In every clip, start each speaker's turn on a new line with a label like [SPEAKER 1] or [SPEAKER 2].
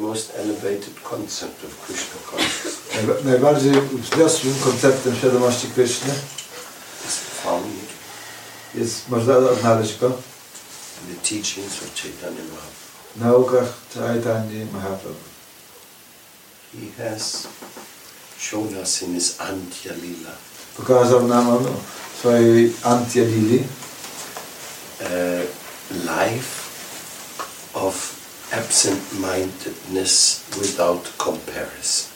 [SPEAKER 1] most elevated concept of Krishna consciousness
[SPEAKER 2] Najba- Najbardziej wzniosłym konceptem świadomości Kryszny
[SPEAKER 1] is found
[SPEAKER 2] jest, można odnaleźć go
[SPEAKER 1] in the teachings of Chaitanya Mahaprabhu.
[SPEAKER 2] w naukach Chaitanya Mahaprabhu.
[SPEAKER 1] He has shown us in his Antya Leela
[SPEAKER 2] Pokazał nam on w swojej Antyalili
[SPEAKER 1] a uh, life of absent-mindedness without comparison.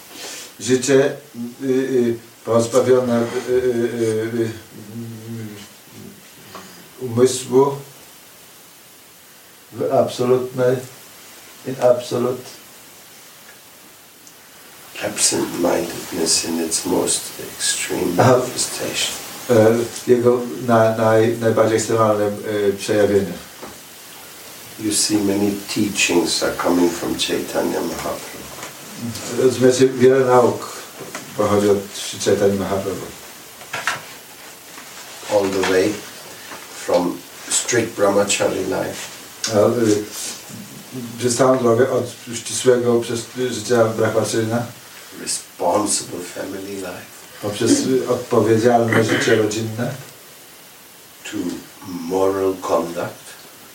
[SPEAKER 2] życie y, y, pozbawione y, y, y, y, umysłu w absolutnej in absolute
[SPEAKER 1] Absent-mindedness in its most extreme
[SPEAKER 2] Ah.
[SPEAKER 1] manifestation.
[SPEAKER 2] e, jego na, naj, najbardziej ekstremalnym e, przejawieniu.
[SPEAKER 1] You see many teachings are coming from Chaitanya Mahaprabhu.
[SPEAKER 2] Rozumiecie, wiele nauk pochodzi od Sri Chaitanya Mahaprabhu.
[SPEAKER 1] all the way from strict brahmachari life
[SPEAKER 2] A, y, Przez całą drogę od ścisłego przez życia brahmaczyna,
[SPEAKER 1] responsible family life
[SPEAKER 2] poprzez y, odpowiedzialne życie rodzinne,
[SPEAKER 1] to moral conduct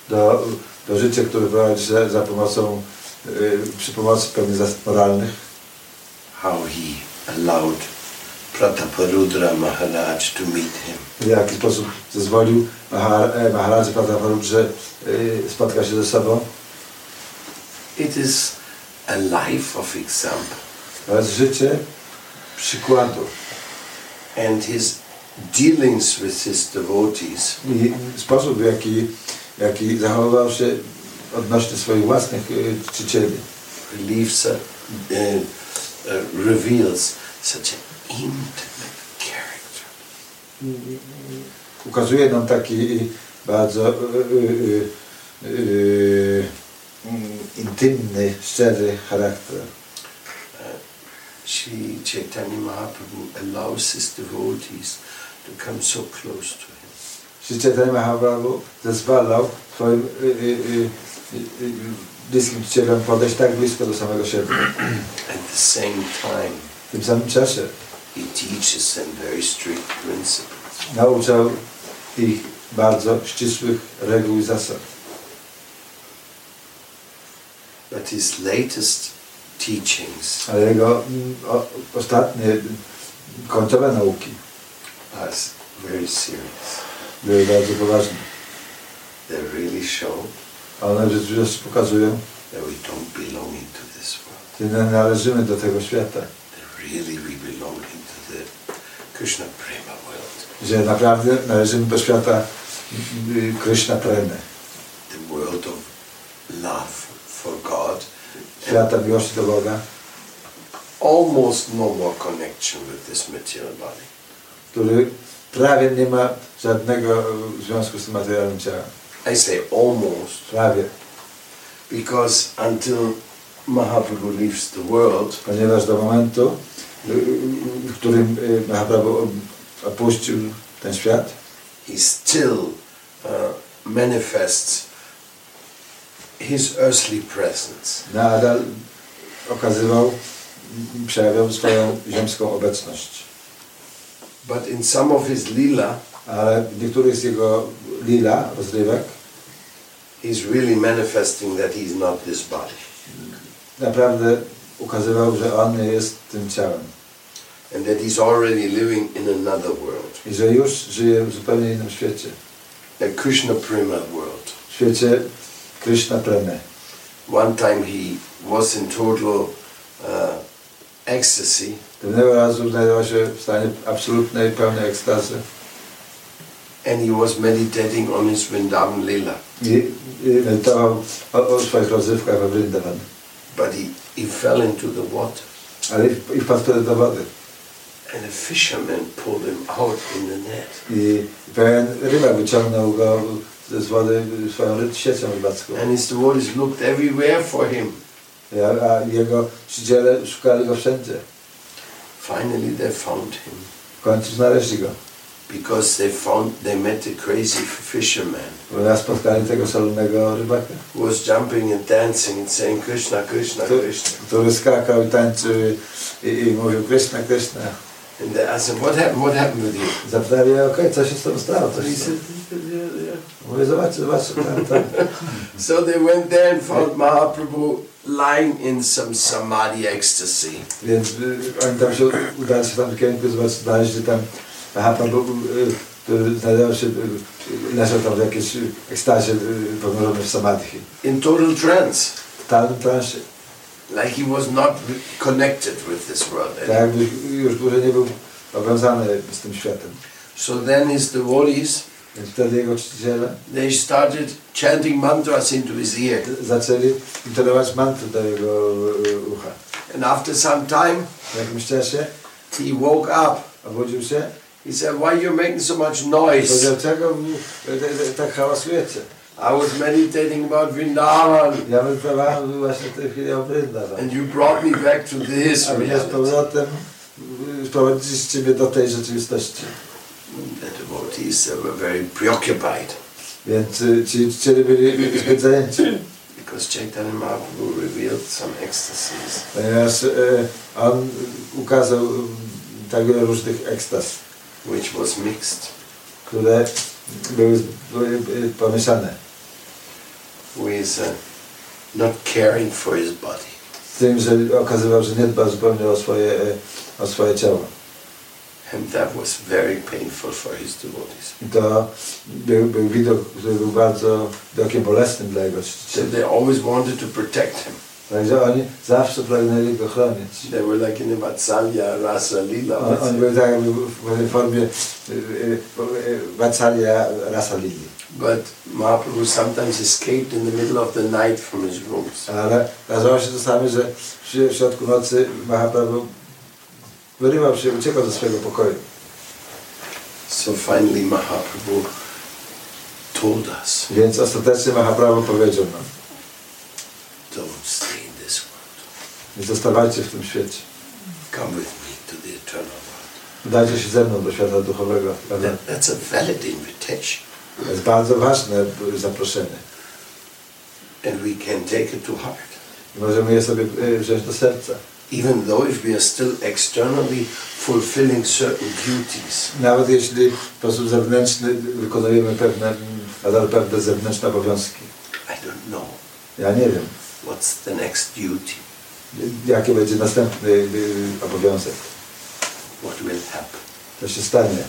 [SPEAKER 2] do, do życia, które prowadzi się za pomocą, y, przy pomocy pewnych zasad moralnych,
[SPEAKER 1] how he allowed prataparudra maharaj to meet him
[SPEAKER 2] w jaki sposób zezwolił Mahar- e, Maharadze Prataparudrze y, spotkać się ze sobą.
[SPEAKER 1] it is a life of example
[SPEAKER 2] To jest życie przykładu
[SPEAKER 1] and his dealings with his devotees
[SPEAKER 2] i sposób, w jaki, jaki zachowywał się odnośnie swoich własnych y, czcicieli.
[SPEAKER 1] relieves a, uh, uh, reveals such an intimate character
[SPEAKER 2] Ukazuje nam taki bardzo y, y, y, y, mm, intymny, szczery charakter.
[SPEAKER 1] Sri Chaitanya Mahaprabhu allows his devotees to come so close to him.
[SPEAKER 2] Sri Chaitanya Mahaprabhu zezwalał swoim y, y, y, y, y, bliskim czcielom podejść tak blisko do samego siebie.
[SPEAKER 1] At the same time,
[SPEAKER 2] W tym samym czasie
[SPEAKER 1] he teaches them very strict principles.
[SPEAKER 2] nauczał ich bardzo ścisłych reguł i zasad.
[SPEAKER 1] But his latest teachings
[SPEAKER 2] Ale jego mm, o, ostatnie końcowe nauki
[SPEAKER 1] are very serious.
[SPEAKER 2] były bardzo poważne.
[SPEAKER 1] They really show
[SPEAKER 2] One rzeczywiście pokazują,
[SPEAKER 1] that we don't belong into this world.
[SPEAKER 2] że nie należymy do tego świata,
[SPEAKER 1] That really we belong into the Krishna Prema world,
[SPEAKER 2] że naprawdę należymy do świata y, Krishna Premy,
[SPEAKER 1] the world of love for God, and
[SPEAKER 2] świata miłości do Boga,
[SPEAKER 1] almost no more connection with this material body.
[SPEAKER 2] który prawie nie ma żadnego y, związku z tym materialnym ciałem.
[SPEAKER 1] I say almost
[SPEAKER 2] Prawie,
[SPEAKER 1] because until Mahaprabhu leaves the world,
[SPEAKER 2] ponieważ do momentu, y, y, y, w którym y, Mahaprabhu op- opuścił ten świat,
[SPEAKER 1] he still uh, manifests his earthly presence.
[SPEAKER 2] nadal okazywał, y, przejawiał swoją ziemską obecność.
[SPEAKER 1] But in some of his lila,
[SPEAKER 2] Ale w niektórych z jego lila, rozrywek,
[SPEAKER 1] he's really manifesting that he's not this body.
[SPEAKER 2] naprawdę ukazywał, że on nie jest tym ciałem
[SPEAKER 1] And that he's already living in another world,
[SPEAKER 2] i że już żyje w zupełnie innym świecie.
[SPEAKER 1] a Krishna Prima world.
[SPEAKER 2] W świecie Krishna Premy.
[SPEAKER 1] One time he was in total uh, ecstasy,
[SPEAKER 2] Pewnego razu znajdował się w stanie absolutnej, pełnej ekstazy
[SPEAKER 1] and he was meditating on his Vrindavan lila.
[SPEAKER 2] i, i medytował o, o swoich rozrywkach we Vrindavan.
[SPEAKER 1] But he, he fell into the water.
[SPEAKER 2] Ale i wp- i wpadł wtedy do wody.
[SPEAKER 1] And a fisherman pulled him out in the net.
[SPEAKER 2] I pewien rybak wyciągnął go z wody swoją ry- siecią rybacką.
[SPEAKER 1] And his devotees looked everywhere for him.
[SPEAKER 2] I- A jego przyjaciele szukali go wszędzie.
[SPEAKER 1] Finally, they found him.
[SPEAKER 2] W końcu znaleźli go.
[SPEAKER 1] because they found they met a crazy fisherman
[SPEAKER 2] Raz spotkali tego szalonego rybaka,
[SPEAKER 1] who was jumping and dancing and saying Krishna, Krishna,
[SPEAKER 2] który,
[SPEAKER 1] Krishna.
[SPEAKER 2] który skakał i tańczył i, i mówił Krishna, Krishna.
[SPEAKER 1] And they asked him, what happened? What happened with you?
[SPEAKER 2] Zapytali, okej, co się z tobą stało? Co
[SPEAKER 1] And
[SPEAKER 2] się
[SPEAKER 1] he
[SPEAKER 2] stało?
[SPEAKER 1] said, yeah, yeah.
[SPEAKER 2] Mówię, zobacz, zobacz, tam, tam.
[SPEAKER 1] So they went there and found Mahaprabhu lying in some samadhi ecstasy.
[SPEAKER 2] Więc y, oni tam się udali się tam w kierunku, zobacz, znaleźli tam, aha, pan Bóg, y, który znajdował się, y, y, leżał tam w jakiejś y, ekstazie y, ponurzony w samadhi.
[SPEAKER 1] In total trance.
[SPEAKER 2] W talnym transie,
[SPEAKER 1] Like he was not connected with this world.
[SPEAKER 2] tak
[SPEAKER 1] anymore.
[SPEAKER 2] jakby już dłużej nie był powiązany z tym światem.
[SPEAKER 1] So then his devotees,
[SPEAKER 2] Więc wtedy jego czciciele
[SPEAKER 1] they started chanting mantras into his ear.
[SPEAKER 2] zaczęli intonować mantry do jego y, ucha.
[SPEAKER 1] And after some time,
[SPEAKER 2] W jakimś czasie
[SPEAKER 1] he woke up.
[SPEAKER 2] obudził się
[SPEAKER 1] He said, why are you making so much
[SPEAKER 2] i powiedział,
[SPEAKER 1] noise?
[SPEAKER 2] czego wy, y, y, y, tak hałasujecie?
[SPEAKER 1] I was meditating about Vrindavan
[SPEAKER 2] Ja wyprawałem właśnie w tej chwili obrydna. wam.
[SPEAKER 1] and you brought me back to this
[SPEAKER 2] A mnie z
[SPEAKER 1] reality.
[SPEAKER 2] powrotem y, sprowadzić Ciebie do tej rzeczywistości.
[SPEAKER 1] The devotees they were very preoccupied
[SPEAKER 2] Więc y, ci czciciele byli zbyt zajęci,
[SPEAKER 1] because Chaitanya Mahaprabhu revealed some ecstasies.
[SPEAKER 2] ponieważ y, on ukazał y, tak wiele różnych ekstaz,
[SPEAKER 1] which was mixed
[SPEAKER 2] które były z- były, y, pomieszane
[SPEAKER 1] with uh, not caring for his body.
[SPEAKER 2] z tym, że okazywał, że nie dba zupełnie o swoje, y, o swoje ciało.
[SPEAKER 1] And that was very painful for his devotees.
[SPEAKER 2] I to był, był widok, który był bardzo widokiem bolesnym dla jego
[SPEAKER 1] So
[SPEAKER 2] czcicieli.
[SPEAKER 1] they always wanted to protect him.
[SPEAKER 2] Także oni zawsze pragnęli go chronić.
[SPEAKER 1] They were like in the Vatsalya Rasa Lila.
[SPEAKER 2] On, on był tak jakby w w formie y, y, y, Vatsalya Rasalili.
[SPEAKER 1] But Mahaprabhu sometimes escaped in the middle of the night from his rooms.
[SPEAKER 2] Ale zdarzało się czasami, że w w środku nocy Mahaprabhu wyrywał się, uciekał ze swojego pokoju.
[SPEAKER 1] So finally Mahaprabhu told us,
[SPEAKER 2] Więc ostatecznie Mahaprabhu powiedział no, nam,
[SPEAKER 1] don't stay in this world.
[SPEAKER 2] nie zostawajcie w tym świecie.
[SPEAKER 1] Come with me to the eternal world.
[SPEAKER 2] Udajcie się ze mną do świata duchowego. prawda?
[SPEAKER 1] That- that's a valid invitation.
[SPEAKER 2] To jest bardzo ważne b- zaproszenie.
[SPEAKER 1] And we can take it to heart.
[SPEAKER 2] I możemy je sobie y, wziąć do serca.
[SPEAKER 1] even though if we are still externally fulfilling certain duties,
[SPEAKER 2] Nawet jeśli w sposób zewnętrzny wykonujemy pewne, nadal pewne zewnętrzne obowiązki.
[SPEAKER 1] I don't know
[SPEAKER 2] Ja nie wiem.
[SPEAKER 1] what's the next duty,
[SPEAKER 2] Jaki będzie następny y, obowiązek?
[SPEAKER 1] what will happen.
[SPEAKER 2] To się stanie.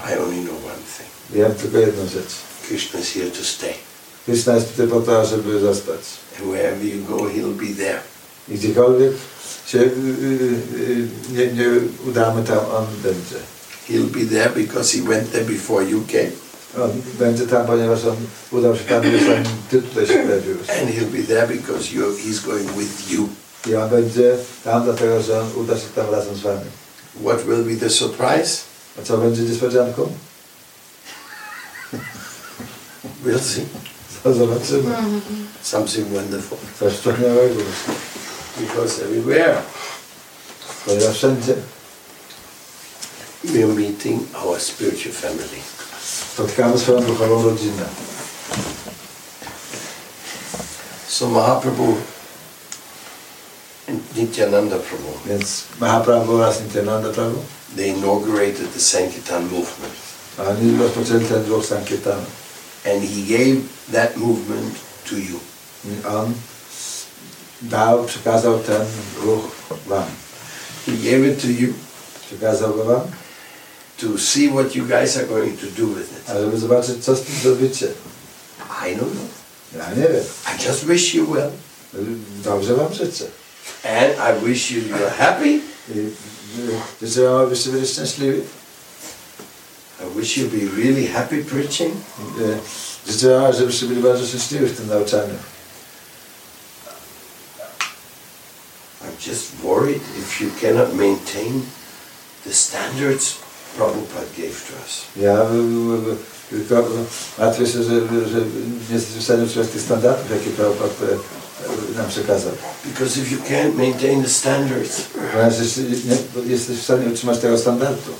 [SPEAKER 1] I only know one thing.
[SPEAKER 2] Wiem tylko jedną rzecz.
[SPEAKER 1] Krishna is here to stay.
[SPEAKER 2] Kryszna jest tutaj po to, żeby zostać.
[SPEAKER 1] And wherever you go, he'll be there.
[SPEAKER 2] I gdziekolwiek się y, y, y, nie, nie udamy, tam on będzie.
[SPEAKER 1] He'll be there because he went there before you came.
[SPEAKER 2] On No, będzie tam, ponieważ on udał się tam, już on, ty tutaj się pojawiłeś.
[SPEAKER 1] And he'll be there because you he's going with you.
[SPEAKER 2] I on będzie tam, dlatego że on uda się tam razem z wami.
[SPEAKER 1] What will be the surprise?
[SPEAKER 2] A co będzie niespodzianką?
[SPEAKER 1] We'll see.
[SPEAKER 2] To zobaczymy.
[SPEAKER 1] Something wonderful.
[SPEAKER 2] Coś wspaniałego.
[SPEAKER 1] Because everywhere
[SPEAKER 2] Ponieważ wszędzie
[SPEAKER 1] we are meeting our spiritual family.
[SPEAKER 2] spotkamy swoją duchową rodzinę.
[SPEAKER 1] So Mahaprabhu and Nityananda Prabhu,
[SPEAKER 2] Więc Mahaprabhu oraz Nityananda Prabhu
[SPEAKER 1] they inaugurated the Sankirtan movement.
[SPEAKER 2] A Oni rozpoczęli ten ruch Sankirtanu.
[SPEAKER 1] And he gave that movement to you.
[SPEAKER 2] I on dał, przekazał ten ruch wam.
[SPEAKER 1] He gave it to you
[SPEAKER 2] Przekazał go wam,
[SPEAKER 1] to see what you guys are going to do with it.
[SPEAKER 2] żeby zobaczyć, co z tym zrobicie.
[SPEAKER 1] I don't know.
[SPEAKER 2] Ja nie wiem.
[SPEAKER 1] I just wish you well.
[SPEAKER 2] Dobrze wam życzę.
[SPEAKER 1] And I wish you you're happy.
[SPEAKER 2] I y, życzę wam, abyście byli szczęśliwi.
[SPEAKER 1] I wish you be really happy preaching.
[SPEAKER 2] Y, Życzę wam, żebyście byli bardzo szczęśliwi w tym nauczaniu.
[SPEAKER 1] I'm just worried if you cannot maintain the standards Prabhupada gave to us.
[SPEAKER 2] Ja y, y, tylko y, martwię się, że, że nie jesteśmy w stanie utrzymać tych standardów, jakie Prabhupada y, nam przekazał.
[SPEAKER 1] Because if you can't maintain the standards,
[SPEAKER 2] Ponieważ jeśli nie jesteś w stanie utrzymać tego standardu,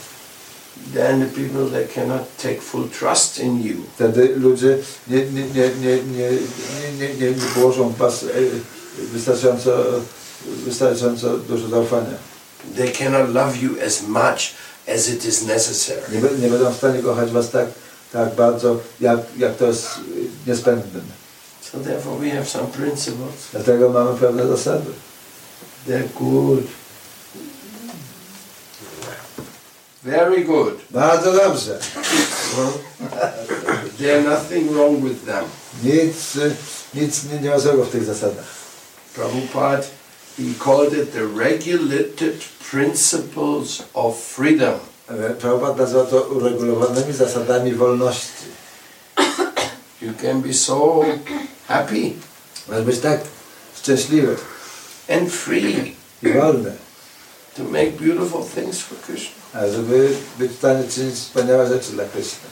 [SPEAKER 1] then the people they cannot take full trust in you.
[SPEAKER 2] Wtedy ludzie nie, nie, nie, nie, nie, nie, nie, nie, nie położą w was e, wystarczająco, wystarczająco dużo zaufania.
[SPEAKER 1] They cannot love you as much as it is necessary.
[SPEAKER 2] Nie, bę- nie będą w stanie kochać was tak, tak bardzo, jak, jak to jest e, niezbędne.
[SPEAKER 1] So therefore we have some principles.
[SPEAKER 2] Dlatego mamy pewne zasady.
[SPEAKER 1] They're good. Very good.
[SPEAKER 2] Bardzo dobrze.
[SPEAKER 1] There's nothing wrong with them.
[SPEAKER 2] Nic, e, nic nie, nie ma złego w tych zasadach.
[SPEAKER 1] Prabhupada, he called it the regulated principles of freedom.
[SPEAKER 2] E, Prabhupada nazywa to uregulowanymi zasadami wolności.
[SPEAKER 1] You can be so happy
[SPEAKER 2] Masz być tak szczęśliwy
[SPEAKER 1] and free
[SPEAKER 2] i wolny,
[SPEAKER 1] to make beautiful things for Krishna.
[SPEAKER 2] a żeby być w stanie czynić wspaniałe rzeczy dla Kryszny.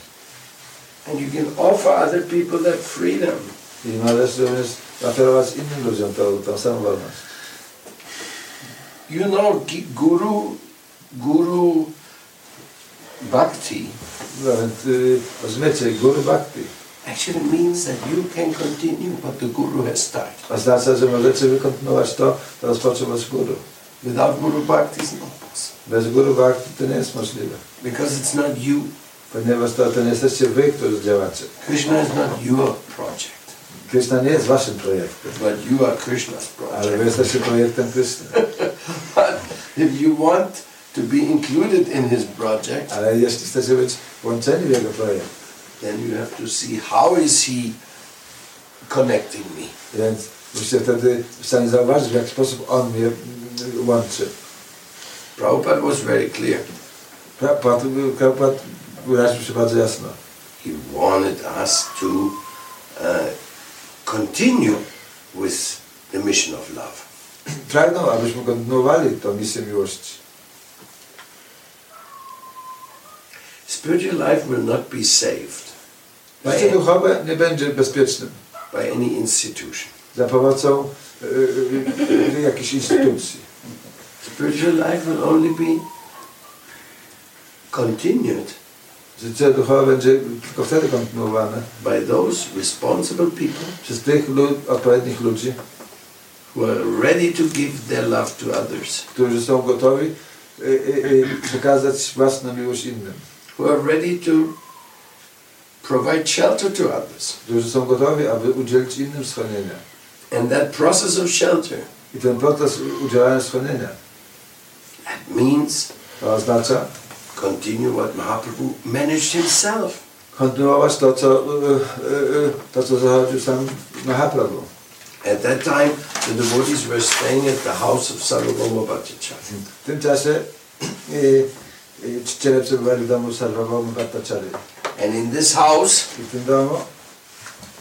[SPEAKER 1] And you can offer other people that freedom.
[SPEAKER 2] I możesz również oferować innym ludziom tą, tą samą wolność.
[SPEAKER 1] You know, Gi- Guru, Guru Bhakti
[SPEAKER 2] No więc y, rozumiecie, guru bhakti
[SPEAKER 1] actually means that you can continue what the Guru has started.
[SPEAKER 2] oznacza, znaczy, że możecie wykontynuować to, co rozpoczął wasz guru.
[SPEAKER 1] Without Guru Bhakti is not possible
[SPEAKER 2] Bez guru bhakti to nie jest możliwe,
[SPEAKER 1] because it's not you.
[SPEAKER 2] ponieważ to, to nie jesteście wy, którzy działacie.
[SPEAKER 1] Krishna is not your project,
[SPEAKER 2] Krishna nie jest waszym projektem,
[SPEAKER 1] but you are Krishna's
[SPEAKER 2] ale wy
[SPEAKER 1] project.
[SPEAKER 2] jesteście projektem Kryszny.
[SPEAKER 1] But if you want to be included in his project,
[SPEAKER 2] Ale jeśli chcecie być włączeni w jego projekt,
[SPEAKER 1] then you have to see how is he connecting me.
[SPEAKER 2] Więc musicie wtedy w stanie zauważyć, w jaki sposób on mnie mm, łączy.
[SPEAKER 1] Prabhupada was very clear.
[SPEAKER 2] Prabhupada Prabhupada wyraził się bardzo jasno.
[SPEAKER 1] He wanted us to uh, continue with the mission of love.
[SPEAKER 2] Pragnął, abyśmy kontynuowali tą misję miłości.
[SPEAKER 1] Spiritual life will not be saved by,
[SPEAKER 2] Życie duchowe nie będzie bezpiecznym
[SPEAKER 1] by any institution.
[SPEAKER 2] za pomocą y, y, y, jakiejś instytucji.
[SPEAKER 1] Spiritual life will only be continued
[SPEAKER 2] Życie duchowe będzie tylko wtedy kontynuowane
[SPEAKER 1] by those responsible people
[SPEAKER 2] przez tych lud, odpowiednich ludzi,
[SPEAKER 1] who are ready to give their love to others,
[SPEAKER 2] którzy są gotowi y, y, y, przekazać własną miłość innym,
[SPEAKER 1] who are ready to provide shelter to others.
[SPEAKER 2] którzy są gotowi, aby udzielić innym schronienia.
[SPEAKER 1] And that process of shelter,
[SPEAKER 2] I ten proces udzielania schronienia
[SPEAKER 1] that means
[SPEAKER 2] to oznacza
[SPEAKER 1] continue what Mahaprabhu managed himself.
[SPEAKER 2] kontynuować to, co, y, y, y, to, co zachodził sam Mahaprabhu.
[SPEAKER 1] At that time, the devotees were staying at the house of Sarvabhauma Bhattacharya.
[SPEAKER 2] W tym czasie y, y, czciele przebywali w domu Sarwabhauma Bhattacharya.
[SPEAKER 1] And in this house,
[SPEAKER 2] I w tym domu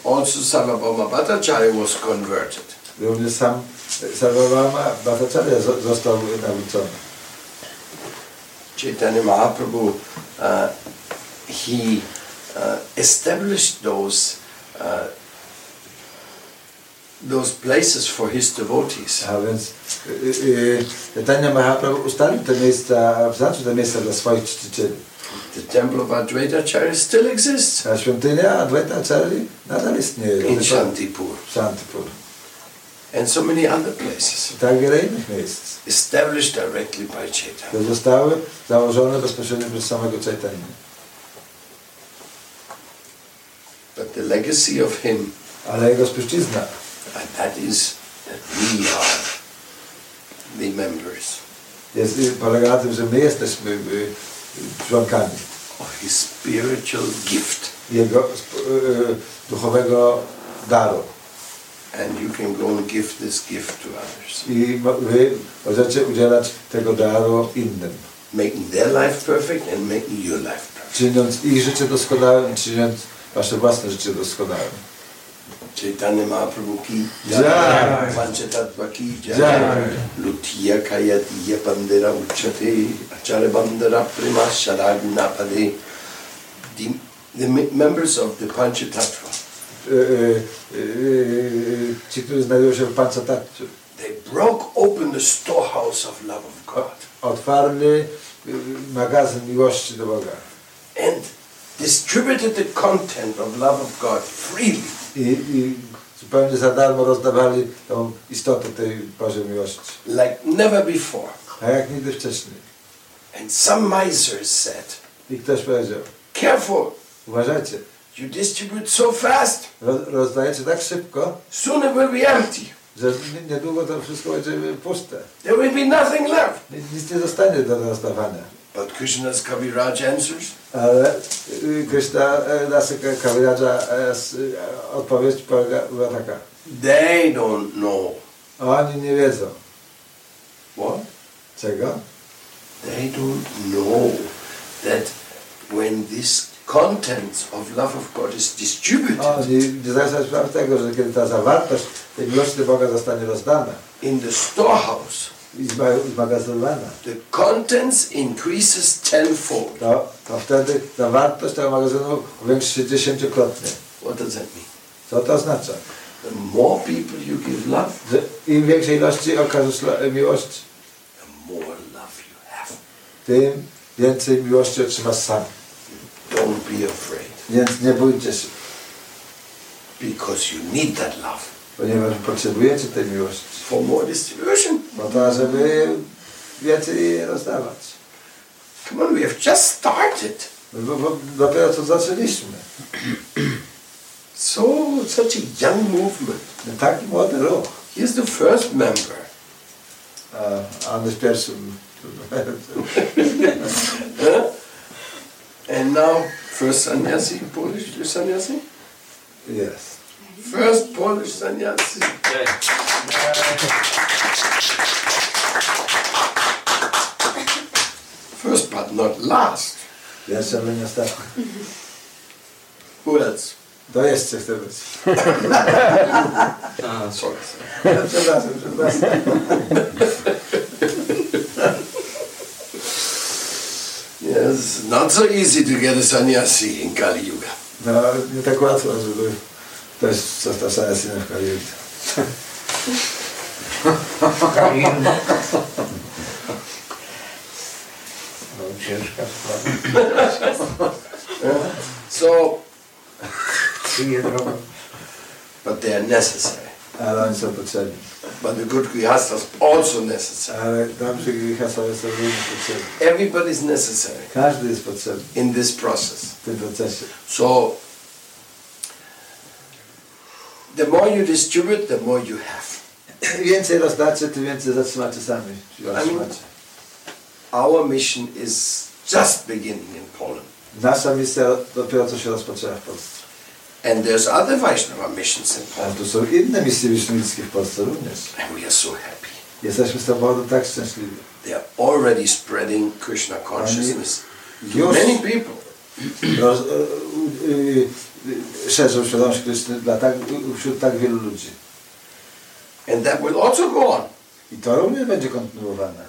[SPEAKER 1] also Sarvabhauma Bhattacharya was converted.
[SPEAKER 2] również sam Sarwabhauma Bhattacharya zo- został nauczony.
[SPEAKER 1] Chaitanya Mahaprabhu, uh, he uh, established those, uh, those places for his devotees.
[SPEAKER 2] A więc y, y, Tania Mahaprabhu ustalił te miejsca, znaczy te miejsca dla swoich czcicieli.
[SPEAKER 1] The temple of Advaita Acharya still exists
[SPEAKER 2] A świątynia Advaita Acharya nadal istnieje.
[SPEAKER 1] in Shantipur
[SPEAKER 2] Shantipur.
[SPEAKER 1] and so many other places,
[SPEAKER 2] I tak wiele innych miejsc.
[SPEAKER 1] established directly by Chaitanya.
[SPEAKER 2] które zostały założone bezpośrednio przez samego Czajtania.
[SPEAKER 1] But the legacy of him
[SPEAKER 2] Ale jego spuścizna,
[SPEAKER 1] And that is that we are the members
[SPEAKER 2] jest, y, polega na tym, że my jesteśmy y, y, członkami
[SPEAKER 1] of his spiritual gift.
[SPEAKER 2] jego sp- y, duchowego daru.
[SPEAKER 1] And you can go and give this gift to others,
[SPEAKER 2] I mo- wy możecie udzielać tego daru innym,
[SPEAKER 1] making their life perfect and making your life perfect.
[SPEAKER 2] czyniąc ich życie doskonałym, czyniąc wasze własne życie doskonałym.
[SPEAKER 1] Chaitanya Mahaprabhu ki
[SPEAKER 2] Jai.
[SPEAKER 1] jai, Panchatattva ki jai,
[SPEAKER 2] Jai.
[SPEAKER 1] Lutiya kaya diya bandera uchate, Acharya bandera prima sharaguna pade. The, the me- members of the Panchatattva,
[SPEAKER 2] Y, y, y, y, ci, którzy znajdują się w Pancatatce,
[SPEAKER 1] they broke open the the storehouse of love of God.
[SPEAKER 2] otwarty y, magazyn miłości do Boga
[SPEAKER 1] And distributed the content of love of God freely.
[SPEAKER 2] i, i zupełnie za darmo rozdawali tą istotę tej Bożej miłości,
[SPEAKER 1] like never before.
[SPEAKER 2] a jak nigdy wcześniej.
[SPEAKER 1] And some misers said,
[SPEAKER 2] I ktoś powiedział,
[SPEAKER 1] Careful,
[SPEAKER 2] uważajcie,
[SPEAKER 1] you distribute so fast,
[SPEAKER 2] ro- rozdajecie tak szybko,
[SPEAKER 1] soon it will be empty.
[SPEAKER 2] że ni- niedługo to wszystko będzie puste.
[SPEAKER 1] There will be nothing left.
[SPEAKER 2] Ni- Nic nie zostanie do rozdawania.
[SPEAKER 1] But Krishna's Kaviraj answers,
[SPEAKER 2] Ale y, Krishna y, Lasyka Kawiradza y, s- y, odpowiedź polega- była taka.
[SPEAKER 1] They don't know.
[SPEAKER 2] Oni nie wiedzą.
[SPEAKER 1] What?
[SPEAKER 2] Czego?
[SPEAKER 1] They don't know that when this content of love of God is distributed
[SPEAKER 2] Oni nie zdają sobie sprawy tego, że kiedy ta zawartość tej miłości do Boga zostanie rozdana
[SPEAKER 1] in the storehouse,
[SPEAKER 2] i zma- zmagazynowana,
[SPEAKER 1] the contents increases tenfold.
[SPEAKER 2] to, to wtedy zawartość tego magazynu powiększy się dziesięciokrotnie.
[SPEAKER 1] What does that mean?
[SPEAKER 2] Co to oznacza?
[SPEAKER 1] The more people you give love,
[SPEAKER 2] Że im większej ilości okażesz lo- miłości,
[SPEAKER 1] the more love you have.
[SPEAKER 2] tym więcej miłości otrzymasz sam.
[SPEAKER 1] Don't be afraid
[SPEAKER 2] Więc nie bójcie się,
[SPEAKER 1] because you need that love
[SPEAKER 2] ponieważ potrzebujecie tej miłości.
[SPEAKER 1] for more distribution.
[SPEAKER 2] Po to, żeby więcej rozdawać. No
[SPEAKER 1] Come on, we have just started.
[SPEAKER 2] Bo, bo dopiero co zaczęliśmy.
[SPEAKER 1] So, such a young movement.
[SPEAKER 2] Taki młody ruch.
[SPEAKER 1] Here's the first member.
[SPEAKER 2] A, a my w pierwszym.
[SPEAKER 1] huh? And now, first sannyasi, Polish sannyasi?
[SPEAKER 2] Jest.
[SPEAKER 1] First Polish sannyasi. First but not last.
[SPEAKER 2] Pierwszy, ale nie ostatni.
[SPEAKER 1] Who else?
[SPEAKER 2] To jeszcze chcę być.
[SPEAKER 1] Ah, Sorry.
[SPEAKER 2] Przepraszam, przepraszam.
[SPEAKER 1] Yes, not so easy to get a sannyasi in Kali Yuga.
[SPEAKER 2] No, nie tak łatwo, żeby ktoś został sanacjinem w Kaliudzie.
[SPEAKER 3] No ciężka sprawa.
[SPEAKER 1] So,
[SPEAKER 3] Przyje drogą.
[SPEAKER 1] but they are necessary.
[SPEAKER 2] Ale oni są potrzebni.
[SPEAKER 1] But the good grihasta is also necessary.
[SPEAKER 2] Ale dobrzy Grichasowie są również potrzebni.
[SPEAKER 1] Everybody is necessary
[SPEAKER 2] Każdy jest potrzebny
[SPEAKER 1] in this process.
[SPEAKER 2] w tym procesie.
[SPEAKER 1] So, the more you distribute, the more you have.
[SPEAKER 2] Im więcej rozdacie, tym więcej zatrzymacie sami. Czyli otrzymacie.
[SPEAKER 1] Our mission is just beginning in Poland.
[SPEAKER 2] Nasza misja dopiero co się rozpoczęła w Polsce.
[SPEAKER 1] And there's other Vaishnava missions in
[SPEAKER 2] Ale
[SPEAKER 1] Poland.
[SPEAKER 2] tu są inne misje wisznickie w Polsce również.
[SPEAKER 1] And we are so happy.
[SPEAKER 2] Jesteśmy z tego powodu tak szczęśliwi.
[SPEAKER 1] They are already spreading Krishna consciousness to
[SPEAKER 2] Yes.
[SPEAKER 1] many people.
[SPEAKER 2] Roz, y, y, y, szerzą świadomość Kryszny dla tak, wśród tak wielu ludzi.
[SPEAKER 1] And that will also go on.
[SPEAKER 2] I to również będzie kontynuowane.